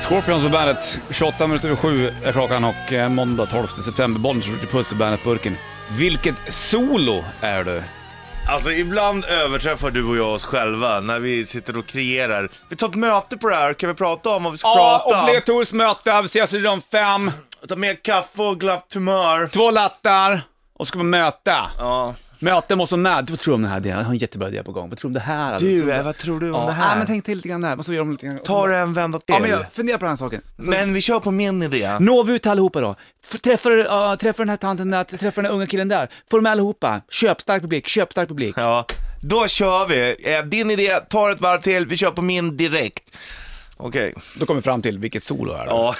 Scorpions på bandet, 28 minuter över 7 är klockan och eh, måndag 12 september, Bollnäs skjuter puss i bandet-burken. Vilket solo är du? Alltså ibland överträffar du och jag oss själva när vi sitter och kreerar. Vi tar ett möte på det här, kan vi prata om vad vi ska prata om? obligatoriskt möte, vi ses i rum fem, Ta med kaffe och glatt humör. två lattar och ska på möte. Ja. Möte måste vara med. Vad tror du om den här delen? Jag har en jättebra idé på gång. Vad tror du om det här? alltså? Du, Tror eh, vad tror du om ja. det här? Ja, men tänk till lite grann där. Man ska göra om lite grann. Ta det en vända till. Ja, men jag funderar på den här saken. Så- Men vi kör på min idé. Når vi ut till allihopa då? F- träffar, uh, träffar den här tanten där, träffar den här unga killen där. Får med allihopa. Köpstark publik, köpstark publik. Ja, då kör vi. Eh, Din idé, tar ett varv till, vi kör på min direkt. Okej. Då kommer vi fram till vilket solo är det. Ja,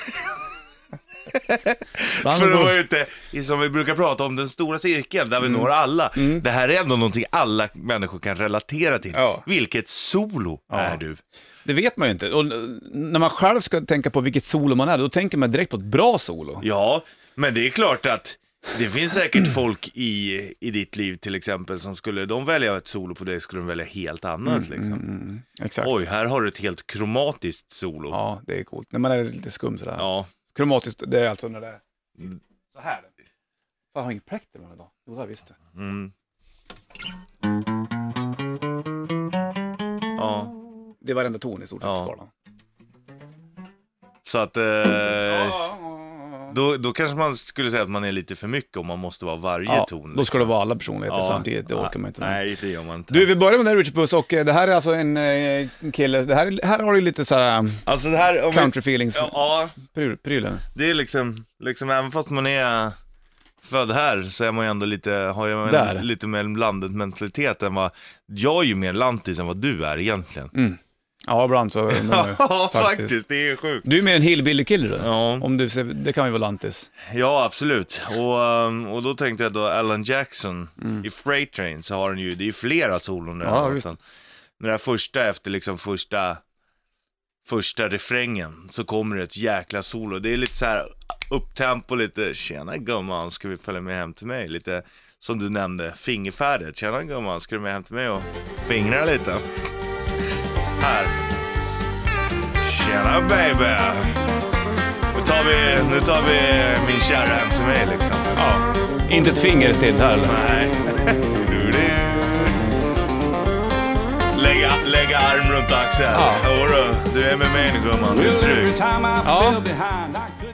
Bland för att annat- vara ute i, som vi brukar prata om, den stora cirkeln där vi når alla. Det här är ändå någonting alla människor kan relatera till. Ja. Vilket solo är du? Det vet man ju inte. Och eh, när man själv ska tänka på vilket solo man är, då tänker man direkt på ett bra solo. Ja, men det är klart att det finns säkert folk i, i ditt liv till exempel som skulle de välja ett solo på dig skulle de välja helt annat liksom. Mm, Exakt. Oj, här har du ett helt kromatiskt solo. Ja. Ja, det är coolt. När man är lite skum sådär. Kromatiskt, det är alltså när det är Mm. så här. Fan, jag har ingen plektrum idag. Jo, det har jag visst. Mm. ja. Det är varenda ton i stort sett Ja. skalan. Så att eh, då, då kanske man skulle säga att man är lite för mycket om man måste vara varje Ja, ton. liksom. då ska det vara alla personligheter samtidigt, det orkar man inte. med. Nej, det gör man inte. Du, vi börjar med den här Richard Puss och eh, det här är alltså en eh, kille, det här, här har du lite såhär alltså det här... Om vi- country feelings Ja, ja, pryl- prylen. det är liksom, liksom, även fast man är född här så är man ju ändå lite, har ju Där. en, lite mer landet mentalitet än vad, jag är ju mer lantis än vad du är egentligen. Ja, ibland så undrar man Ja, ju, faktiskt. det är sjukt. Du är mer en hillbilly-kille du. Ja. Om du, ser- det kan ju vara lantis. Ja, absolut. Och, ehm, och då tänkte jag då Alan Jackson i Freight Train så har han ju, det är ju flera solon där. Mm. Ja, Ja, visst. den här första efter liksom första, första refrängen så kommer det ett jäkla solo. Det är lite så här upptempo, lite tjena gumman, ska vi följa med hem till mig? Lite som du nämnde, fingerfärdigt. Tjena gumman, ska du med hem till mig och fingra lite? Här. Tjena baby! Nu tar vi, nu tar vi min kära hem till mig liksom. Ja. Inte ett finger still här eller? Nej. Du, du. Lägga, lägga arm runt axeln. Ja. Jodå, du är med mig nu gumman. Du är trygg. Ja.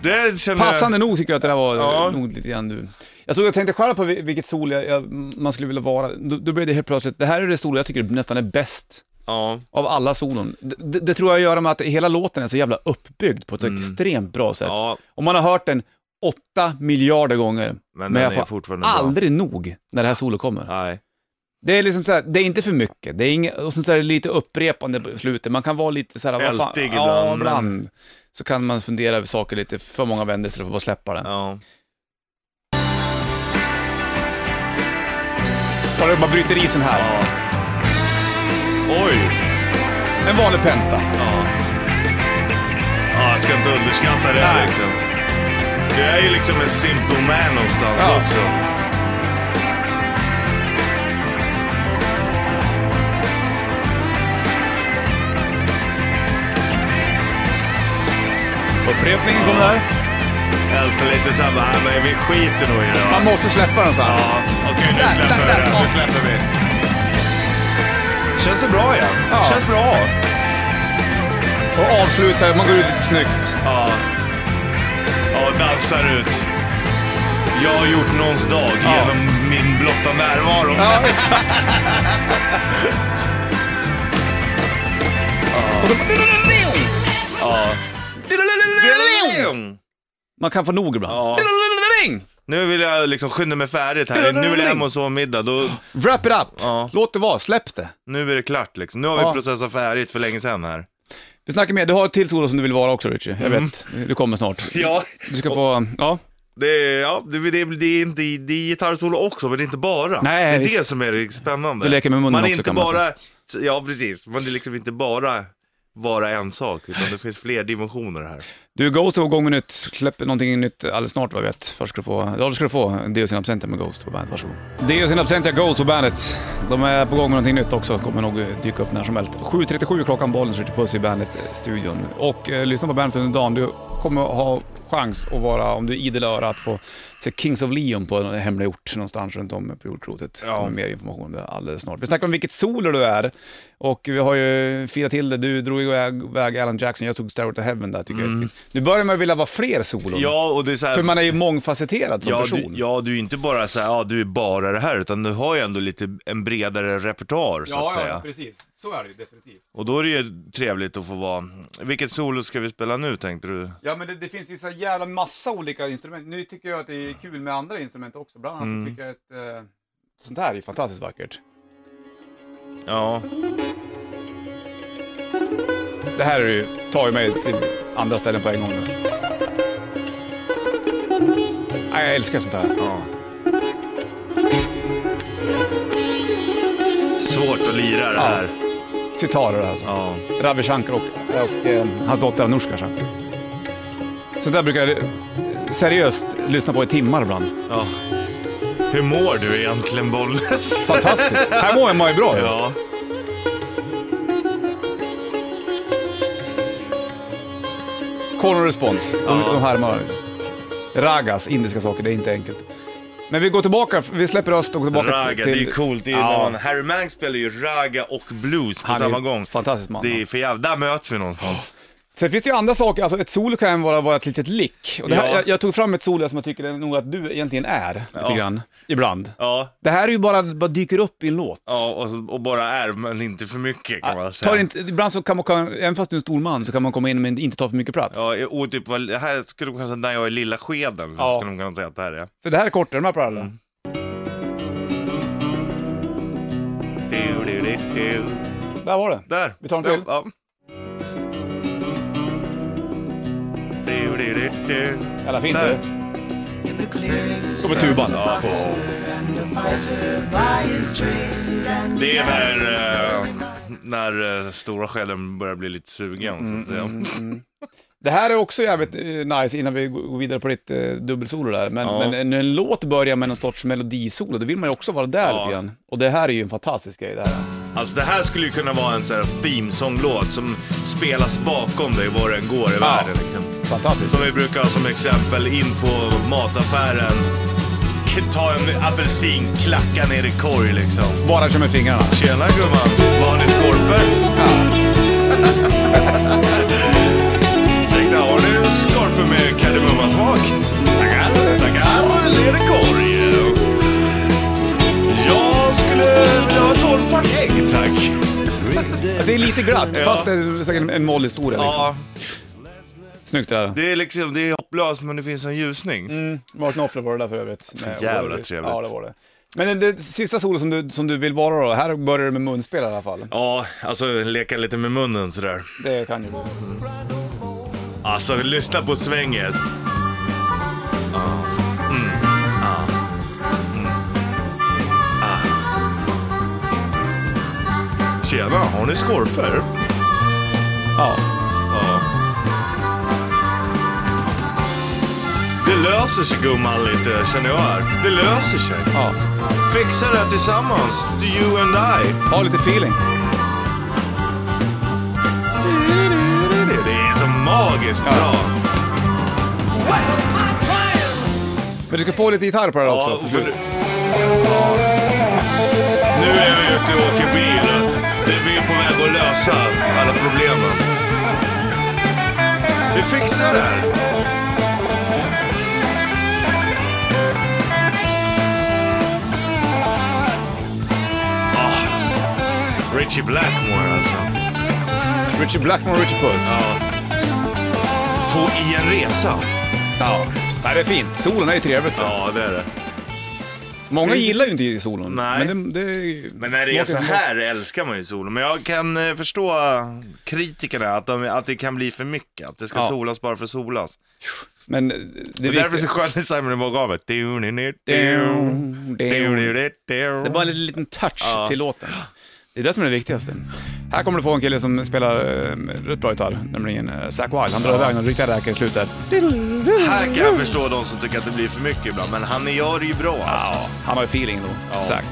Det känner jag- Passande nog tycker jag att det där var Ja. nog lite grann du. Jag tror jag tänkte själv på vil- vilket sol jag, jag, man skulle vilja vara. Då, då blev det helt plötsligt, det här är det sol jag tycker nästan är bäst Ja. av alla solon. Det, det, det tror jag har att göra med att hela låten är så jävla uppbyggd på ett extremt bra sätt. ja. Och man har hört den åtta miljarder gånger, men, Men den jag är får fortfarande bra. aldrig nog när det här solot kommer. Nej. Det är liksom så här, det är inte för mycket, det är inget, och sen så är det lite upprepande på slutet, man kan vara lite så här, vad fan, Ältig ibland, ja, men- ibland. Så kan man fundera över saker lite för många vändor istället för att bara släppa den. Ja. Bara, bara bryter isen här. ja. Oj. En vanlig penta. Ja. Ja, jag ska inte underskatta det här Nej. liksom. Det är ju liksom en simple man någonstans Ja. också. Upprepningen kommer där. Älta lite såhär bara, "Nej, men vi skiter nog i det. va?" Man måste släppa den så här. Ja, okej nu släpper vi det. här. Nu släpper vi. Känns det bra igen? Ja. Känns bra. Och avsluta, man går ut lite snyggt. Ja. Ja, dansar ut. Jag har gjort någons dag genom min blotta närvaro. Ja, exakt. Och så... Ja. Man kan få nog ibland. Ja. Nu vill jag liksom skynda mig färdigt här. Nu vill jag hem och sova middag. Då, Wrap it up. Ja. Låt det vara, släpp det. nu är det klart liksom. Nu har vi Ja. processat färdigt för länge sedan här. Vi snackar mer, du har ett till solo som du vill vara också Richie. Jag vet, du kommer snart. Ja. Du ska få, ja. Det är, ja, det, det, det är inte det är gitarrsolo också, men det är inte bara. Nej, det är visst. det som är det spännande. Du leker med munnen man är också, inte kan man bara, Ja, precis. Man är liksom inte bara vara en sak, utan det finns fler dimensioner här. Du, Ghost är på gång med nytt. Släpper någonting nytt alldeles snart vad jag vet. Först ska du få, ja, du ska du få Deus in absentia med Ghost på bandet. Varsågod. Deus in absentia, Ghost på bandet. De är på gång med någonting nytt också. Kommer nog dyka upp när som helst. 7.37 klockan, bollen skjuter puss i bandet-studion. Och eh, lyssna på bandet under dagen. Du kommer ha chans att vara, om du är idel öra, att få se Kings of Leon på en hemlig ort någonstans runt om på jordklotet. Ja. Ja. Mer information om det alldeles snart. Vi snackar om vilket soler du är. Och vi har ju firat till det. Du drog iväg iväg Alan Jackson, jag tog Stairway to Heaven där tycker jag. Nu börjar man vilja vara fler solon. Mm. Ja, och det är så här, För man är ju mångfacetterad som ja, person. Du, ja, du är inte bara så här, ja du är bara det här, utan du har ju ändå lite en bredare repertoar så att säga. precis. Så är det ju definitivt. Och då är det ju trevligt att få vara, vilket solo ska vi spela nu tänkte du? Ja men det, finns ju så jävla massa olika instrument. Nu tycker jag att det är kul med andra instrument också. Bland annat Mm. så tycker jag att eh, sånt här är fantastiskt vackert. Ja, Det här är ju, tar ju mig till andra ställen på en gång nu. Nej, Jag älskar sånt här. ja. Svårt att lira det här. Sitarrer alltså. Ja. Ravi Shankar och, och eh, hans dotter Anushka Shankar. Sånt där brukar jag eh, seriöst lyssna på i timmar ibland. ja. Hur mår du egentligen Bollnäs? Fantastiskt. Här mår jag mår jag bra. Ja. Ja. Call and response. De, de härmar. Ragas, indiska saker, det är inte enkelt. Men vi går tillbaka, vi släpper öst och går tillbaka Raga, till... det är coolt. Det är när man, Harry Mank spelar ju raga och blues på Han är samma ju gång. fantastisk man. Det är för jävla, där möts vi någonstans. Sen finns det ju andra saker, alltså ett sol kan ju vara, vara ett litet lick. Och det här, Ja. jag, jag tog fram ett sol som jag tycker är nog att du egentligen är, lite Ja. grann, ibland. Ja, Det här är ju bara, bara dyker upp i en låt. ja och, så- och bara är, men inte för mycket kan man säga. Tar inte, ibland så kan man, kan, även fast du är en stor man, så kan man komma in men inte ta för mycket plats. Ja, och typ, vad- här skulle de kunna säga, när jag är lilla skeden, Ja. så skulle de kunna säga att det här är. För det här är kortare, de här parallellerna. Mm. Du, du, du, du. Där var det. Där! Vi tar en till. Ja. Du, du, du, du. Jävla fint. Där. Där. Kommer tuban. Ja. Det är när, eh, när eh, stora skeden börjar bli lite sugen så Mm, att säga. Det här är också jävligt eh, nice innan vi går vidare på ditt eh, dubbelsolo där. Men, Ja. men en, en låt börjar med någon sorts melodisolo, då vill man ju också vara där Ja. lite grann. Och det här är ju en fantastisk grej det här. Alltså det här skulle ju kunna vara en sån här themesånglåt som spelas bakom dig var den går i världen. Liksom. Fantastiskt. Som vi brukar ha som exempel, in på mataffären, k- ta en apelsin, klacka ner i korg liksom. Bara kör med fingrarna. Tjena gumman, vad har ni skorpor? Ursäkta, har ni skorpor med kardemummasmak? Tackar. Tackar, ner i korg. Jag skulle vilja ha 12 pack ägg tack. Det är lite glatt, Ja. fast det är säkert en- en mollhistoria liksom. Ja, Snyggt det där. det är liksom, det är hopplöst men det finns en ljusning. Mm, Martin Offler var det där för övrigt. Nej, jävla oerhört. trevligt. Ja, det var det. Men det sista solo som du, som du vill vara då, här börjar det med munspel i alla fall. Ja, alltså leka lite med munnen sådär. Det kan ju bli. Alltså lyssna på svänget. Ja. Mm. Ja. Mm. Ah. Tjena, har ni skorpor? Ja. Ja. Det löser sig gumman lite känner jag här. Det löser sig. ja. Fixa det här tillsammans. You and I. Ha lite feeling. Det är så magiskt bra. Men du ska få lite gitarr på det här Ja, också. för... Nu är vi ute och åker bil. Det är vi är på väg att lösa alla problemen. Vi fixar det här. Ah, Richie Blackmore alltså. Richard Blackmore och Richard Puss. Ja. På I en resa. Ja. Nej, det är fint. Solen är ju trevligt. Ja, det är det. Många gillar ju inte solen. Nej. Men, det, det är- Men när det är så smaken- här älskar man ju solen. Men jag kan eh, förstå kritikerna att, de, att det kan bli för mycket. Att det ska Ja. solas bara för solas. Men det är Det är därför så viktigt. skönt när Simon and Garfunkel. Dun, dun, dun. Det Det är bara en liten touch Ja. till låten. Det är det som är det viktigaste. Här kommer du få en kille som spelar eh, rätt bra gitarr, nämligen eh, Zack Wild. Han drar iväg någon riktig räka i slutet. Här kan jag förstå de som tycker att det blir för mycket ibland, men han gör det ju bra alltså. Ja, han har ju feeling då, Zack.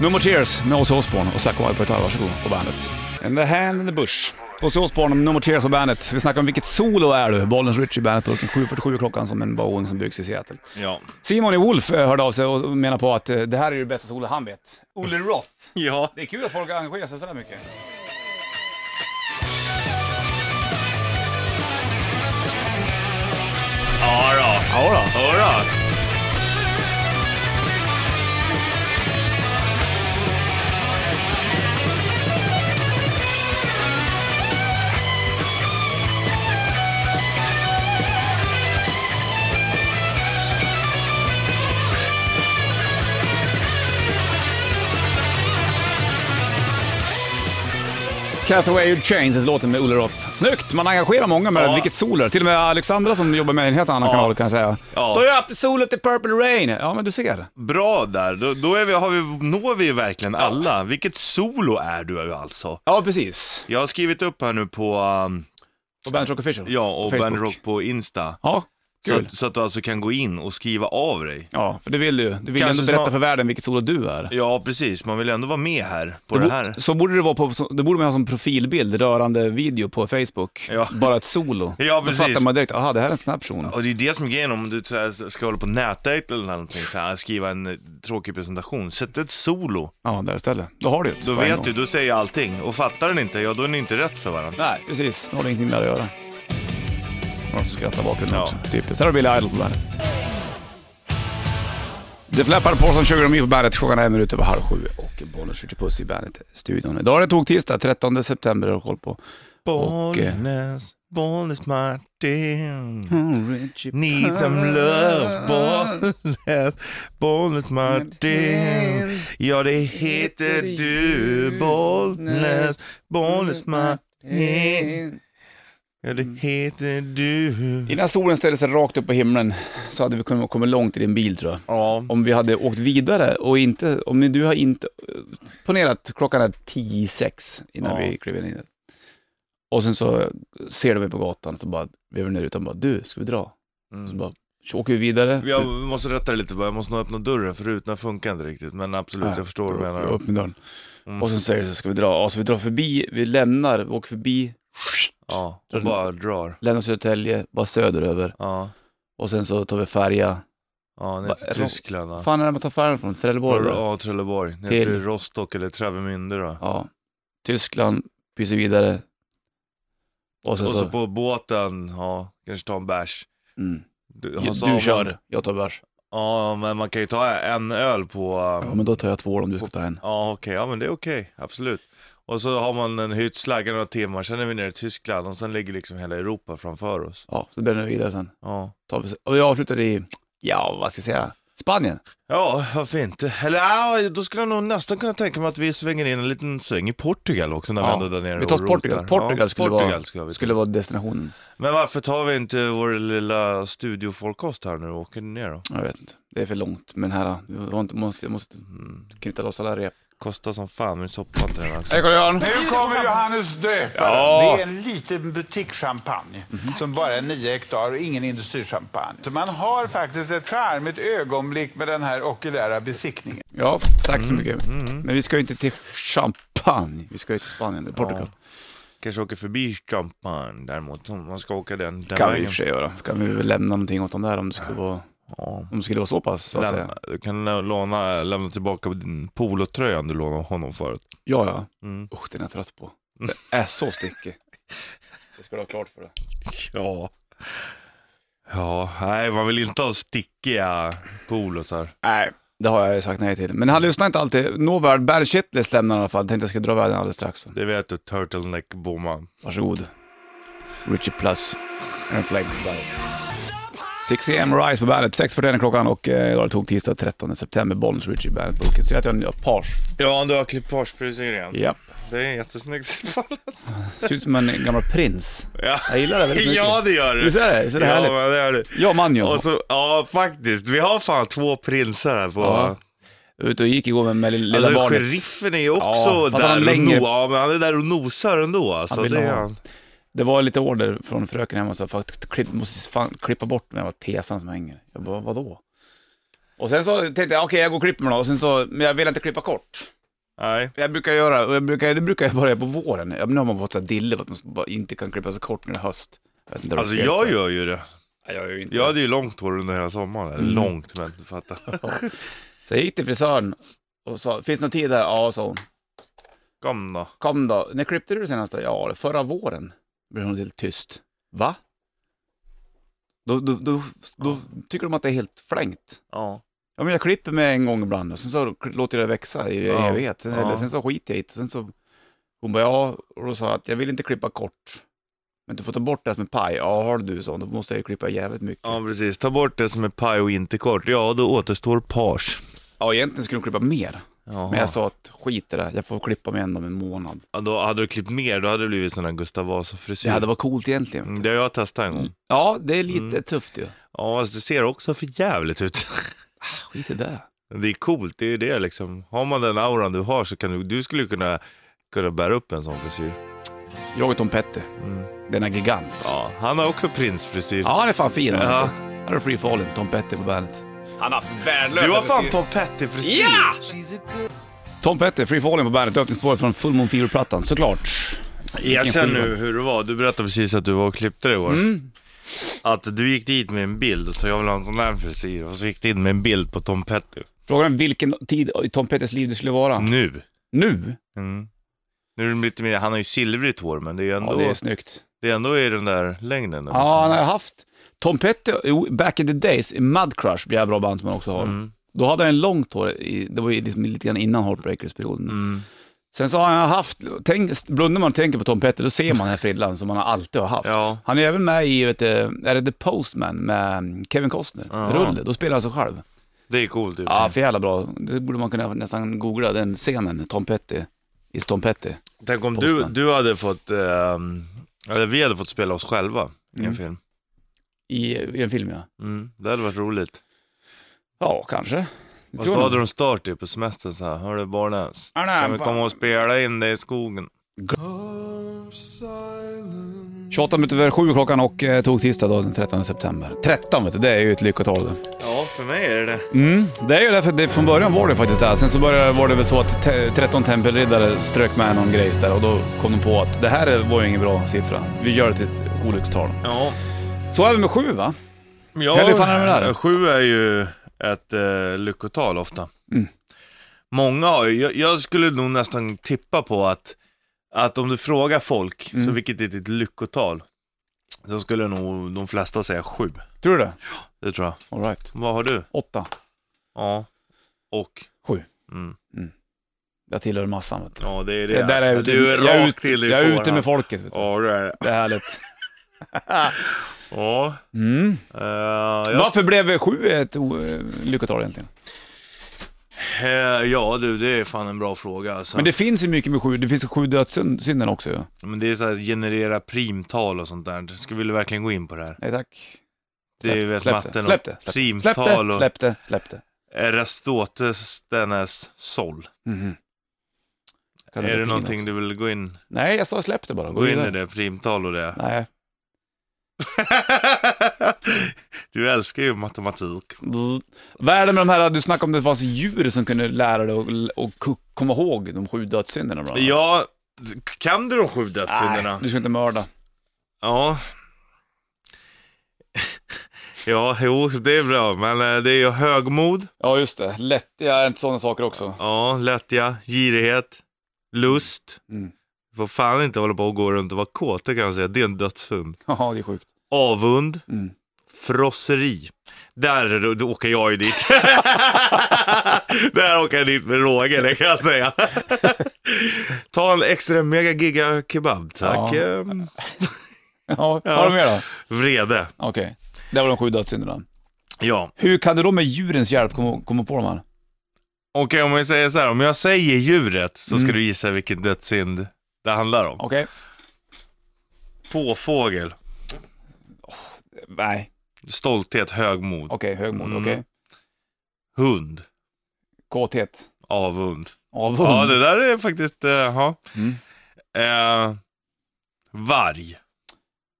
No More Tears med Ozzy Osbourne och Zack Wild på gitarr, varsågod, på bandet. And the hand in the bush. Ozzy Osbourne med No More Tears på bandet. Vi snackar om vilket solo är du? Bollens Richie i bandet, och 7.47 klockan som en Boeing som byggs i Seattle. Ja. Simon i Wolf eh, hörde av sig och menar på att eh, det här är det bästa solo han vet. Olle Roth. Ja. Det är kul att folk engagerar sig sådär mycket. Ja då. Ja, då. Ja då. Castaway Your Chains, ett låten med Olle Roth. Snyggt! Man engagerar många med Ja. vilket sol det är. Till och med Alexandra som jobbar med en helt annan kanal kan jag säga. Ja. Då är upp solet i Purple Rain. Ja, men du ser. Bra där, då, då är vi, har vi, når vi verkligen alla. Vilket solo är du alltså? Ja, precis. Jag har skrivit upp här nu på, um, Och Bandit Rock Official. ja, och Facebook. Band Rock på Insta. Ja, Så, kul. att- så att du alltså kan gå in och skriva av dig. Ja, för det vill du ju. Du vill Kanske ändå berätta snart- för världen vilket solo du är. Ja, precis. Man vill ändå vara med här på Det det, bo- här. Så borde det vara på, så- det borde man ha som profilbild, rörande video på Facebook. Ja. Bara ett solo. Ja, Då precis. fattar man direkt, aha, det här är en snabb person. Och det är det som är grejen om du så här, ska hålla på och nätdejta eller någonting, så här, skriva en eh, tråkig presentation. Sätt ett solo, Ja, där istället. Då har du ju ett då på en vet gång. du, då säger jag allting. Och fattar den inte, ja då är ni inte rätt för varandra. Nej, precis. Nu har det ingenting där att göra. Någon som skrattar i bakgrunden Ja. också. Typiskt. Här har Billy Idol på bandet. Det fläppar på som Sugar Me på bandet. Klockan är en minut över halv sju och bollen skjuter puss i bandet-studion. Idag är det tog-tisdag, 13 september och koll på... Och, eh, Bollnäs, Bollnäs Martin. Need some love, Bollnäs, Bollnäs Martin Ja det heter du, Bollnäs, Bollnäs Martin Ja Mm. det heter du Innan solen ställde sig rakt upp på himlen så hade vi kunnat komma långt i din bil tror jag. Ja, Om vi hade åkt vidare och inte, om du har inte, ponera att klockan är 10.06 innan Ja. vi klev in. i det. Och sen så ser du mig på gatan så bara vevar ner utan bara du, ska vi dra? Så bara så åker vi vidare. jag måste rätta dig lite bara, jag måste nog öppna dörren för rutorna funkar inte riktigt men absolut jag förstår vad du menar. menar Upp med dörren. Mm. Och sen säger du så ska vi dra, ja, så vi drar förbi, vi lämnar, vi åker förbi, Ja, och bara drar lämnar Södertälje, bara söderöver Ja, och sen så tar vi färja. ja ner till Va- är det- Tyskland va? fan är det man tar färjan från? Trelleborg? då? Ja, Trelleborg, ner Till- till Rostock eller Travemünde då Ja. Tyskland, pyser vidare. Och sen Och så... så på båten, ja, kanske ta en bärs. mm. Du, du, så har man- kör, jag tar bärs. Ja, men man kan ju ta en öl på... um, Ja, Ja, men då tar jag två om du ska ta en. okej, ja men det är okej, absolut. Och så har man en hytt, slaggar några timmar, sen är vi nere i Tyskland och sen ligger liksom hela Europa framför oss. Ja, så bränner vi vidare sen. Ja, Tar vi, och jag avslutar i, ja vad ska vi säga, Spanien. ja varför inte? Eller ja, då skulle jag nog nästan kunna tänka mig att vi svänger in en liten sväng i Portugal också när Ja, vi ändå är där nere vi tar och Portugal. rotar. Portugal skulle vara- Portugal skulle vi ta. Skulle vara destinationen. Men varför tar vi inte vår lilla studiofolkost här nu och åker ner då? Jag vet inte, det är för långt. Men här, jag har inte- måste, jag måste Mm. knyta loss alla rep. Kostar som fan, men soppar inte den här. Hej Carl-Johan! Nu kommer Johannes döparen. Ja. Det är en liten butikschampagne som bara är 9 hektar och ingen industrichampagne. Så man har faktiskt ett charmigt ögonblick med den här okulära besiktningen. Ja, tack Mm. så mycket. Men vi ska ju inte till Champagne, vi ska ju till Spanien, eller Portugal. Kanske åker förbi Champagne däremot, om man ska åka den, den kan vi i vägen. och för sig göra. Kan vi väl lämna någonting åt dem där om det skulle vara, Ja. om det skulle vara så pass, så att säga. Lämna, du kan lä- låna, lämna tillbaka din polotröjan du lånade av honom förut. Ja, ja. Mm. Usch, den är jag trött på. Det är så stickig. Mm. Det ska du ha klart för dig. Ja. Ja, nej man vill inte ha stickiga polosar. Nej, det har jag ju sagt nej till. Men han lyssnar inte alltid. Nåväl, Bad Shitlist lämnar i alla fall. Tänkte jag ska dra världen alldeles strax. Det vet du, turtleneck bomman. Varsågod. Richie Plus and Flames på bandet. 6 am Rise på bandet, 6.41 är klockan och eh, idag tog tisdag 13 september, Bollnäs Richie bandet Bucket. Ser att jag har en page. Ja, du har klippagefrisyren. Japp. Det är jättesnyggt. Ser ut som en gammal prins. ja. Jag gillar det väldigt mycket. ja, det gör du. Visst är det? Visst är det ja, härligt? men det gör du. Ja, man ja. Och så, ja, faktiskt. Vi har fan två prinsar här på... Ja. Ute och gick igår med, med lilla Alltså barnet. sheriffen är ju också Ja, fast han där och längre- no- ja, men han är där och nosar ändå alltså. Han vill Det är ha- han. Det var lite order från fröken hemma, så jag klipp, måste fan, klippa bort den här tesan som hänger. Jag bara, vadå? Och sen så tänkte jag, okej jag går och klipper mig då, och sen så, men jag vill inte klippa kort. Nej. Jag brukar göra, och jag brukar, det brukar jag börja på våren. Ja, men Nu har man fått så här dille på att man bara inte kan klippa så kort när det är höst. Jag vet inte om det är Alltså fel jag på- gör ju det. Nej, jag gör ju inte Jag det. hade ju långt hår under hela sommaren. Eller Mm. Långt men du fattar. Så jag gick till frisören och sa, finns det någon tid där? Ja, sa hon. Kom då. Kom då, när klippte du det senast då? Ja, förra våren. Blev hon helt tyst. Va? Då, då, då, då tycker de att det är helt flängt. Ja. Ja, men jag klipper mig en gång ibland och sen så låter jag det växa i Ja, evighet. Sen, ja. eller, sen så skiter jag i det. Sen så, hon bara, ja, och då sa jag att jag vill inte klippa kort. Men du får ta bort det här som är paj. Ja, har du sånt, då måste jag ju klippa jävligt mycket. Ja precis, ta bort det som är paj och inte kort. Ja då återstår page. Ja, egentligen skulle hon klippa mer. Jaha. Men jag sa att skit i det, jag får klippa mig ändå om en månad. Ja, då hade du klippt mer, då hade det blivit sån här Gustav Vasa-frisyr. Det hade varit coolt egentligen. Mm, Det har jag testat en gång. Ja, det är lite Mm. tufft ju. Ja, fast det ser också för jävligt ut. Skit i det. Det är coolt, det är ju det liksom. Har man den auran du har så kan du, du skulle kunna, kunna bära upp en sån frisyr. Jag och Tom Petty, denna gigant. Mm. Ja. Ja, han har också prinsfrisyr. han är fan fin. Ja. Ja. Här har du Free Falling, Tom Petty på bandet. Han har haft värdelösa Du har fan Tom Petty-frisyr! Ja! Tom Petty, Free Falling på bandet, öppningsspåret från Full Moon Fever-plattan, såklart. Erkänn nu hur det var, du berättade precis att du var och klippte dig igår. Mm. Att du gick dit med en bild och sa jag vill ha en sån där frisyr och så gick du in med en bild på Tom Petty. Frågan är vilken tid i Tom Pettys liv det skulle vara. Nu! Nu? Mm. Nu är det lite mer, han har ju silvrigt hår men det är ju ändå, Ja, det är snyggt. det är ändå i den där längden. Ja, han har haft... Tom Petty, jo, back in the days, i Mud Crush, blir jag bra band som han också har. Mm. Då hade han långt hår, i, det var ju liksom lite grann innan Heartbreakers-perioden. Mm. Sen så har han haft, tänk, blundar man och tänker på Tom Petty, då ser man den här frillan som han alltid har haft. Ja. Han är även med i, vet du, är det The Postman med mm, Kevin Costner, Ja. Rulle, då spelar han sig själv. Det är coolt. Typ. Ja, för jävla bra. Det borde man kunna nästan googla, den scenen, Tom Petty, is Tom Petty. Tänk om du, Postman. du hade fått, ehm, eller vi hade fått spela oss själva i en Mm. film. I, i en film ja. Mm. Det hade varit roligt. Ja, kanske. Det Fast tror då jag hade nog. de start typ på semestern så här, hörru Barnäs, Ja, nej, kan vi fan. komma och spela in det i skogen? 28 minuter över sju klockan och eh, tog tisdag då, den 13 september. 13 vet du, det är ju ett lyckotal det. Ja, för mig är det det. Mm, det är ju därför det, från början var det faktiskt det. här. Sen så började, var det väl så att te, 13 tempelriddare strök med någon grejs där och då kom de på att det här var ju ingen bra siffra. Vi gör det till ett olyckstal. Ja. Så även med sju va? Ja, Eller hur fan är det med det här? Sju är ju ett eh, lyckotal ofta. Mm. Många har ju, jag, jag skulle nog nästan tippa på att, att om du frågar folk, så Mm. vilket är ditt lyckotal? Så skulle nog de flesta säga sju. Tror du det? Det tror jag. All right. Vad har du? Åtta. Ja. Och? Sju. Mm. Jag tillhör massan vet du. Ja, det är det. Det där är jag ute, du är jag är rakt ute, till i jag är ute fåran. med folket vet du. Ja, det är det. Det är härligt. Ja. Mm. eh, jag Varför blev sju ett o- eh, lyckotal egentligen? Eh, Ja du, det är fan en bra fråga alltså. Men det finns ju mycket med sju, det finns ju sju dödssynden också ju. Men det är så här, generera primtal och sånt där. Ska vi verkligen gå in på det här? Nej tack. Det Släpp- är väl släpp matten det, och släpp det, släpp det, släpp primtal det, och- släpp det, släpp det. Erastoteles dennes sol. Mhm. Kan Är gå det till någonting något? du vill gå in, Nej, jag sa släpp det bara. gå in i vidare. det? Primtal och det? Nej. du älskar ju matematik. Vad är det med de här, du snackade om det fanns djur som kunde lära dig och, och k- komma ihåg de sju dödssynderna bland annat. Ja, kan du de sju dödssynderna? Nej, du ska inte mörda. Ja. Ja, jo, det är bra, men eh, det är ju högmod, Ja, just det. Lättja är inte sådana saker också. ja, lättja, girighet, lust. Mm. Får fan inte hålla på och gå runt och vara kåt, det kan jag säga. Det är en dödssynd. Ja, det är sjukt. Avund, Mm. frosseri. Där då, då åker jag ju dit. Där åker jag dit med råge, det kan jag säga. Ta en extra mega giga kebab, tack. Ja. Ehm, Ja, har du mer då? Vrede. Okej. Det var de sju dödssynderna. Ja, Hur kan du då med djurens hjälp komma, komma på de här? okej om jag säger så här, om jag säger djuret så Mm. ska du gissa vilken dödssynd det handlar om. Okej. Påfågel, Nej. stolthet, högmod. Okej, högmod. Mm. Okej. Hund, Kåthet. Avund. Avund. Ja, det där är faktiskt, eh, ja. Mm. Eh, varg.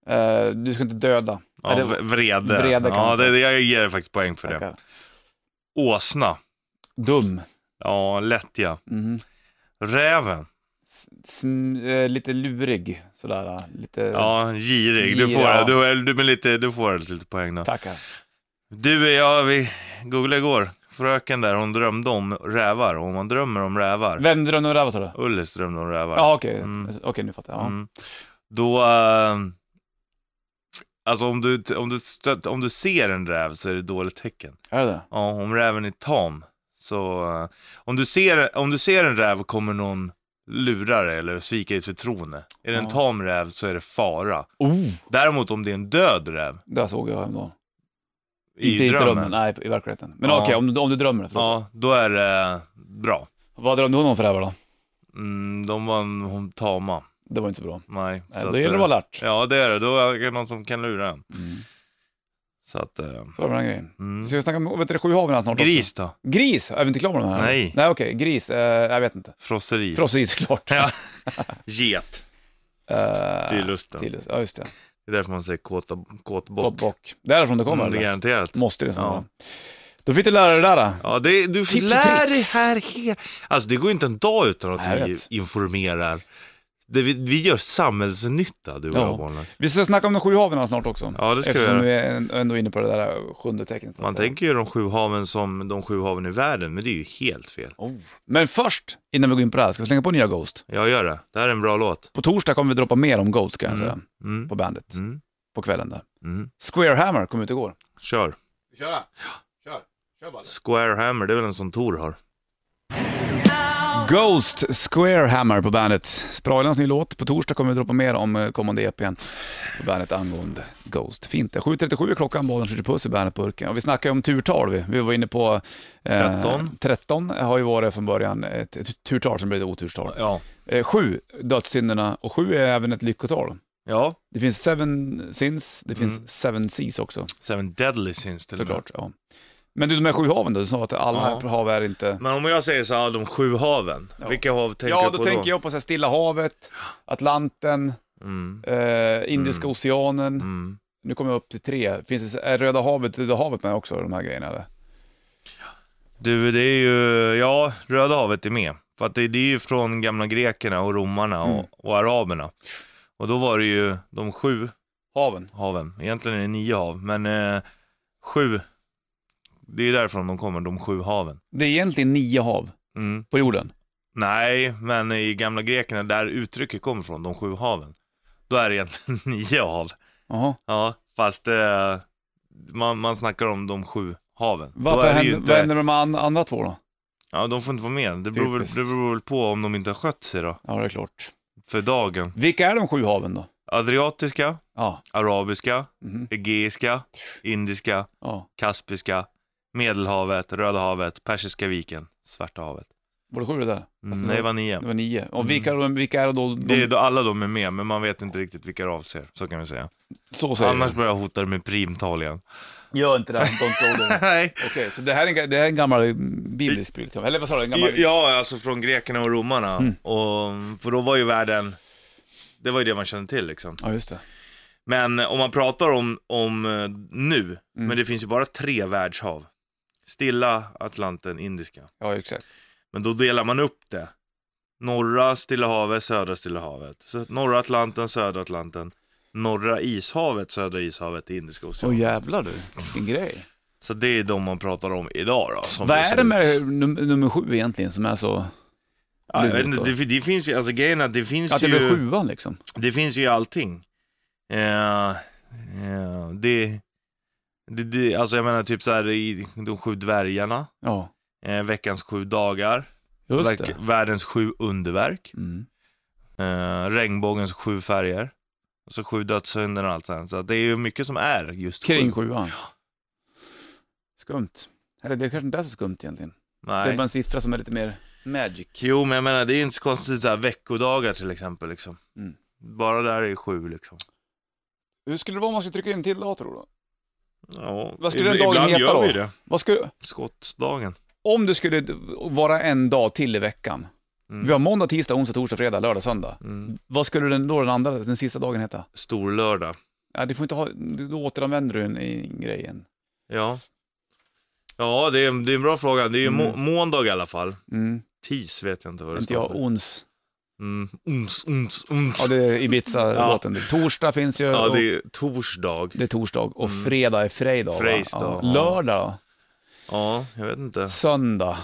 Eh, du ska inte döda. Ja, Är det- v- vrede. vrede kan ja, man det, säga. det, jag ger faktiskt poäng för det. Tackar. Åsna. Dum. Ja, lättja. Mhm. Räven. S- sm- eh, lite lurig, sådär. eh, Lite... Ja, girig. Du Girig, får, ja. du, är- du, men lite, du får lite poäng då. Tackar. Du, ja, vi googlade igår. Fröken där, hon drömde om rävar. Och man drömmer om rävar. Vem drömde om rävar sa du? Ullis drömde om rävar. Ja, okej. Mm. Okej, nu fattar jag. Ja. Mm. Då... eh, alltså om du, om, du stöt, om du ser en räv så är det dåligt tecken. Är det det? Ja, om räven är tam. Så eh, om, du ser, om du ser en räv kommer någon lura dig eller svika ditt förtroende. Är det en Ja. tam räv så är det fara. Oh! Däremot om det är en död räv Där såg jag häromdagen. i inte drömmen. i drömmen, nej i verkligheten. Men Ja. okej, om, du- om du drömmer. Förlåt. Ja, då är det bra. Vad drömde hon om för rävar då? Mm, de var en- hon tama. Det var inte så bra. Nej. Nej, så Då att, gäller det eh, att vara alert. Ja, det är det. Då är det någon som kan lura en. Mm. Så att... eh, Så var det med den grejen. Mm. Vi ska snacka om vet du, sju haven här snart Gris då? Också. Gris? Är vi inte klara med den här? Nej. Nej okej, gris. Eh, jag vet inte. Frosseri? Frosseri såklart. Ja. Get. Eh, Till lusten. till lust. Ja just det. Det är därför man säger kåta, kåtbock. Bock. Bock. Därifrån det kommer Mm, det är eller? garanterat. Måste det Ja. ja. Då fick du lära dig det där. Då. Ja, det, du Tips och lär dig tricks. här hela... Alltså det går inte en dag utan att Nej, jag vi vet. informerar. Det, vi, vi gör samhällsnytta du och Ja. jag Bollnäs. Vi ska snacka om de sju haven här snart också. Ja, det ska vi Eftersom göra. vi är ändå inne på det där sjunde tecknet. så att Man säga. tänker ju de sju haven som de sju haven i världen, men det är ju helt fel. Oh. Men först, innan vi går in på det här, ska vi slänga på nya Ghost. Jag gör det. Det här är en bra låt. På torsdag kommer vi droppa mer om Ghost kan jag säga, Mm. på bandet. Mm. På kvällen där. Mm. Squarehammer kom ut igår. Kör. Vi kör det? Kör. Kör bara. Square Hammer, det är väl en som Tor har. Ghost Squarehammer på bandet. Sprailans ny låt. På torsdag kommer vi droppa mer om eh, kommande EPn på bandet angående Ghost. Fint det. 7.37 är klockan, bollen skjuter puss i bandetburken. Och vi snackar ju om turtal vi. Vi var inne på... Eh, 13. 13 har ju varit från början ett, ett turtal som blev ett oturstal. Ja. Eh, sju dödssynderna och sju är även ett lyckotal. Ja. Det finns seven sins, det finns Mm. seven seas också Seven Deadly Sins till och med. såklart. Ja. Men du, de här sju haven då? Du sa att alla Ja. hav är inte... Men om jag säger så här, de sju haven. Ja. Vilka hav tänker Ja, du då på tänker jag på så här Stilla havet, Atlanten, Mm. eh, Indiska Mm. oceanen. Mm. Nu kommer jag upp till tre. Finns det, är Röda havet, Röda havet med också, de här grejerna? Eller? Du, det är ju, ja, Röda havet är med. För att det, det är ju från gamla grekerna och romarna och, Mm. och araberna. Och då var det ju de sju Haven. haven. Egentligen är det nio hav, men eh, sju. Det är därifrån de kommer, de sju haven. Det är egentligen nio hav Mm. på jorden. Nej, men i gamla grekerna, där uttrycket kommer från, de sju haven. Då är det egentligen nio hav. Jaha. Ja, fast eh, man, man snackar om de sju haven. Då Varför är det ju händer, inte- Vad händer med de an, andra två då? Ja, de får inte vara med. Det beror, väl, Typiskt. det beror väl på om de inte har skött sig då, Ja, det är klart. för dagen. Vilka är de sju haven då? Adriatiska, Ja. arabiska, Mhm. egeiska, indiska, ja. kaspiska, medelhavet, röda havet, persiska viken, svarta havet. Var det sju det där? Mm, Alltså, nej, det var Det nio. Mm. var nio. Och vilka, vilka är det då? De, Det är då alla de är med, men man vet inte riktigt vilka det avser. Så kan vi säga. så säger Annars Annars... börjar jag hota dig med primtal igen. Gör inte det, här, don't go there. Nej. Okej, så det här är en, ga- det här är en gammal biblisk bild? Eller vad sa du? En gammal... Mm. Ja, alltså från grekerna och romarna. Och, för då var ju världen, det var ju det man kände till liksom. Ja, just det. Men om man pratar om, om eh, nu, Mm. men det finns ju bara tre världshav. Stilla, Atlanten, Indiska. Ja, exakt. Men då delar man upp det. Norra Stilla havet, södra Stilla havet. Så norra Atlanten, södra Atlanten. Norra ishavet, södra ishavet, Indiska Så oceanen. jävlar du, vilken grej. Så det är de man pratar om idag då. Som Vad ser är det ut. med num- nummer sju egentligen som är så... Ja, jag vet lurigt inte, då? det, det finns ju, alltså grejen är att det finns Att det ju... blir sjuan liksom? Det finns ju i allting. Eh, eh, det, det, det, alltså jag menar typ så här i de sju dvärgarna, Ja, eh, veckans sju dagar, just verk- det. världens sju underverk, Mm. eh, regnbågens sju färger, och så sju dödssynderna och allt det här. Så att det är ju mycket som är just Kring sju. sjuan. Skumt. Eller det kanske inte är så skumt egentligen. Det är Nej. bara en siffra som är lite mer magic. Jo men jag menar det är ju inte så konstigt så här veckodagar till exempel liksom. Mm. Bara där är sju liksom. Hur skulle det vara om man skulle trycka in till dator då? Ja, Vad skulle ib- den dagen ibland heta gör då? vi det. Vad skulle... Skottdagen. Om du skulle d- vara en dag till i veckan. Vi har måndag, tisdag, onsdag, torsdag, fredag, lördag, söndag. Vad skulle den, då den andra, den sista dagen heta? Mm. Storlördag. Ja, du får inte ha, du, då återanvänder du en, en grejen. Ja. Ja, det är, det är en bra fråga. Det är ju må- måndag i alla fall. Mm. Tis vet jag inte vad det Inte står jag, för. ons. Mm. Ons, ons, ons. Ja, det är Ibiza-låten. Torsdag finns ju. Ja, och- det är torsdag. Det är torsdag och fredag är fredag. va? Mm. Fredag, Ja. ja. Lördag, Ja, jag vet inte. söndag,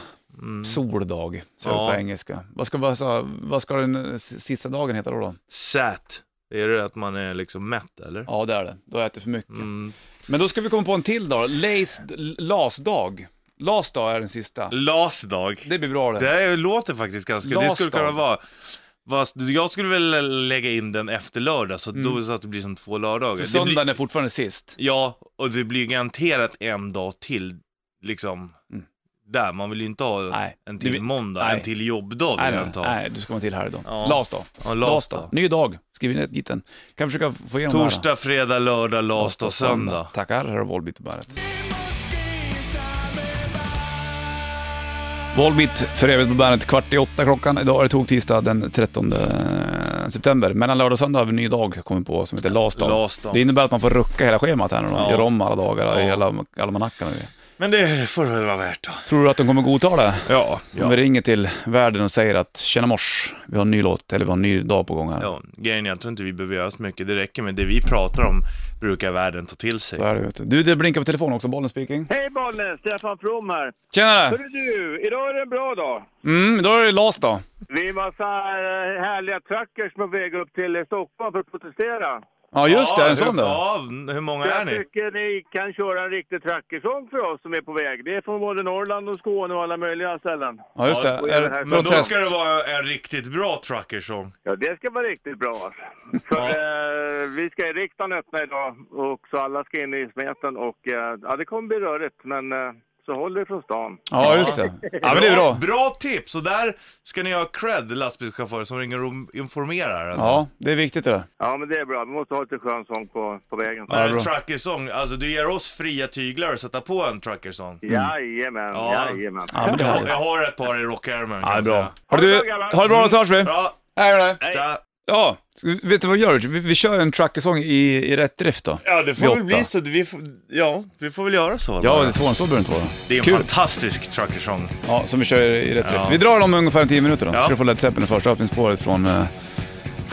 soldag, så är det Mm. Ja. på engelska. Vad ska, vad, sa- vad ska den s- sista dagen heta då? då? Sät. Är det att man är liksom mätt eller? Ja, det är det. Då har jag ätit för mycket. Mm. Men då ska vi komma på en till dag. Lays, lasdag. Lasdag är den sista. Lasdag. Det blir bra det. Det här låter faktiskt ganska... Det skulle kunna Lasdag. vara... Fast jag skulle väl lägga in den efter lördag, så, då, så att det blir som två lördagar. Mm. Så Det blir, söndagen är fortfarande sist. ja, och det blir garanterat en dag till, liksom. Där, man vill ju inte ha Mm. Nej. en Det till blir- måndag, nej. en till jobbdag vill Nej, jag nej, inte ha. nej, du ska vara till här idag. Ja. Lasdag. Ja, Lasdag. lasdag. Ny dag. Skriv ner dit den. Kan försöka få igenom det här. Torsdag, fredag, lördag, lasdag, söndag. Tackar, här har Volbeat på bandet. Volbeat för evigt på bandet, kvart i åtta klockan. Idag är det tog tisdag den 13 september. Mellan lördag och söndag har vi en ny dag kommit på som heter Lasdag. Lasdag. Det innebär att man får rucka hela schemat här nu då. Ja. Göra om alla dagar i Ja. hela almanackan och det. Men det får det väl vara värt då. Tror du att de kommer godta det? Ja, Om ja. vi ringer till världen och säger att tjena mors, vi har en ny låt eller vi har en ny dag på gång här. ja. Grejen är, jag tror inte vi behöver göra så mycket. Det räcker med det vi pratar om brukar världen ta till sig. Så är det, vet du. du, det blinkar på telefonen också, bollen speaking. Hej Bollnäs, Stefan From här. Tjenare! Hörru du, idag är det en bra dag. Mm, då är det Lasdag. Vi var så här eh, härliga truckers på väg upp till eh, Stockholm för att protestera. Ja, just det, en hur- sån då. Ja, hur många är Jag ni? tycker ni kan köra en riktig truckersång för oss som är på väg. Det är från både Norrland och Skåne och alla möjliga ställen. Ja, just Ja, det. och Är även här- det Men då protest? ska det vara en riktigt bra truckersång. Ja, det ska vara riktigt bra. alltså. För eh, vi ska i riksdagen öppna idag och så alla ska in i smeten och eh, ja, det kommer bli rörigt men eh, så håll dig från stan. Ja, just det. Ja, men det är bra. Bra tips! Och där ska ni ha cred, lastbilschaufförer som ringer och informerar. Ja, det är viktigt det där. Ja, men det är bra. Vi måste ha lite skön sång på, på vägen. Men bra. en truckersång, alltså du ger oss fria tyglar att sätta på en truckersång. Jajamän, Ja. jajamän. Ja, men det är Jag, härligt. jag har ett par i rockärmen kan Ja, det är jag bra. Har säga. du, Alltså. ha det bra, Mm. så hörs vi. Bra, Hej med dig. tja. Ja, ska- vet du vad vi gör? Vi, vi kör en truckersång i, i rätt drift då. Ja, det Vid får väl åtta. bli så. Vi får, ja, vi får väl göra så. Ja, bara. det är svårare än så behöver det inte vara. det är en Kul. fantastisk truckersång. Ja, som vi kör i rätt Ja. drift. Vi drar dem ungefär 10 minuter då. Ja. Ska du få Led Zeppelin första öppningsspåret från eh,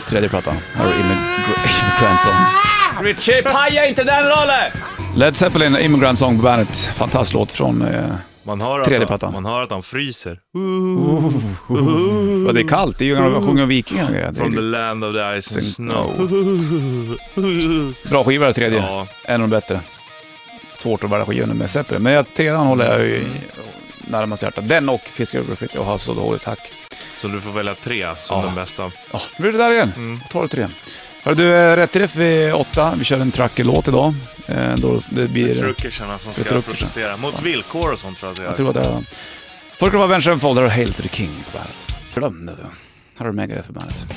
tredje plattan. Här har du Immig- Immigrant Song. Richie, paja inte den rollen! Led Zeppelin, Immigrant Song på bandet. Fantastisk låt från... Eh, Man hör, Tredje att plattan. han, man hör att han fryser. ja, det är kallt. Det är ju när de sjunger om vikingar och grejer. Det är From ju- the land of the ice and snow. Bra skiva det tredje. Ja. En av de bättre. Svårt att välja skivor med Zeppelin, men jag, trean håller jag ju i- närmast hjärtat. Den och Fiskar över fritt och Hasse och Dåligt Tack. Så du får välja tre som Ja. den bästa. Ja, nu blir det där igen. Ta det trean. Hörru du, eh, rätt i det vid åtta. Vi kör en trucker-låt idag. Eh, Då det blir... Truckersarna alltså, som För ska truckersarna. protestera. Mot villkor och sånt tror jag att det är. Jag tror att det är... Först ska det vara Avenged Unfold, där har Hail to the King på bandet. Glöm det du. Här har du Megadeth för bandet.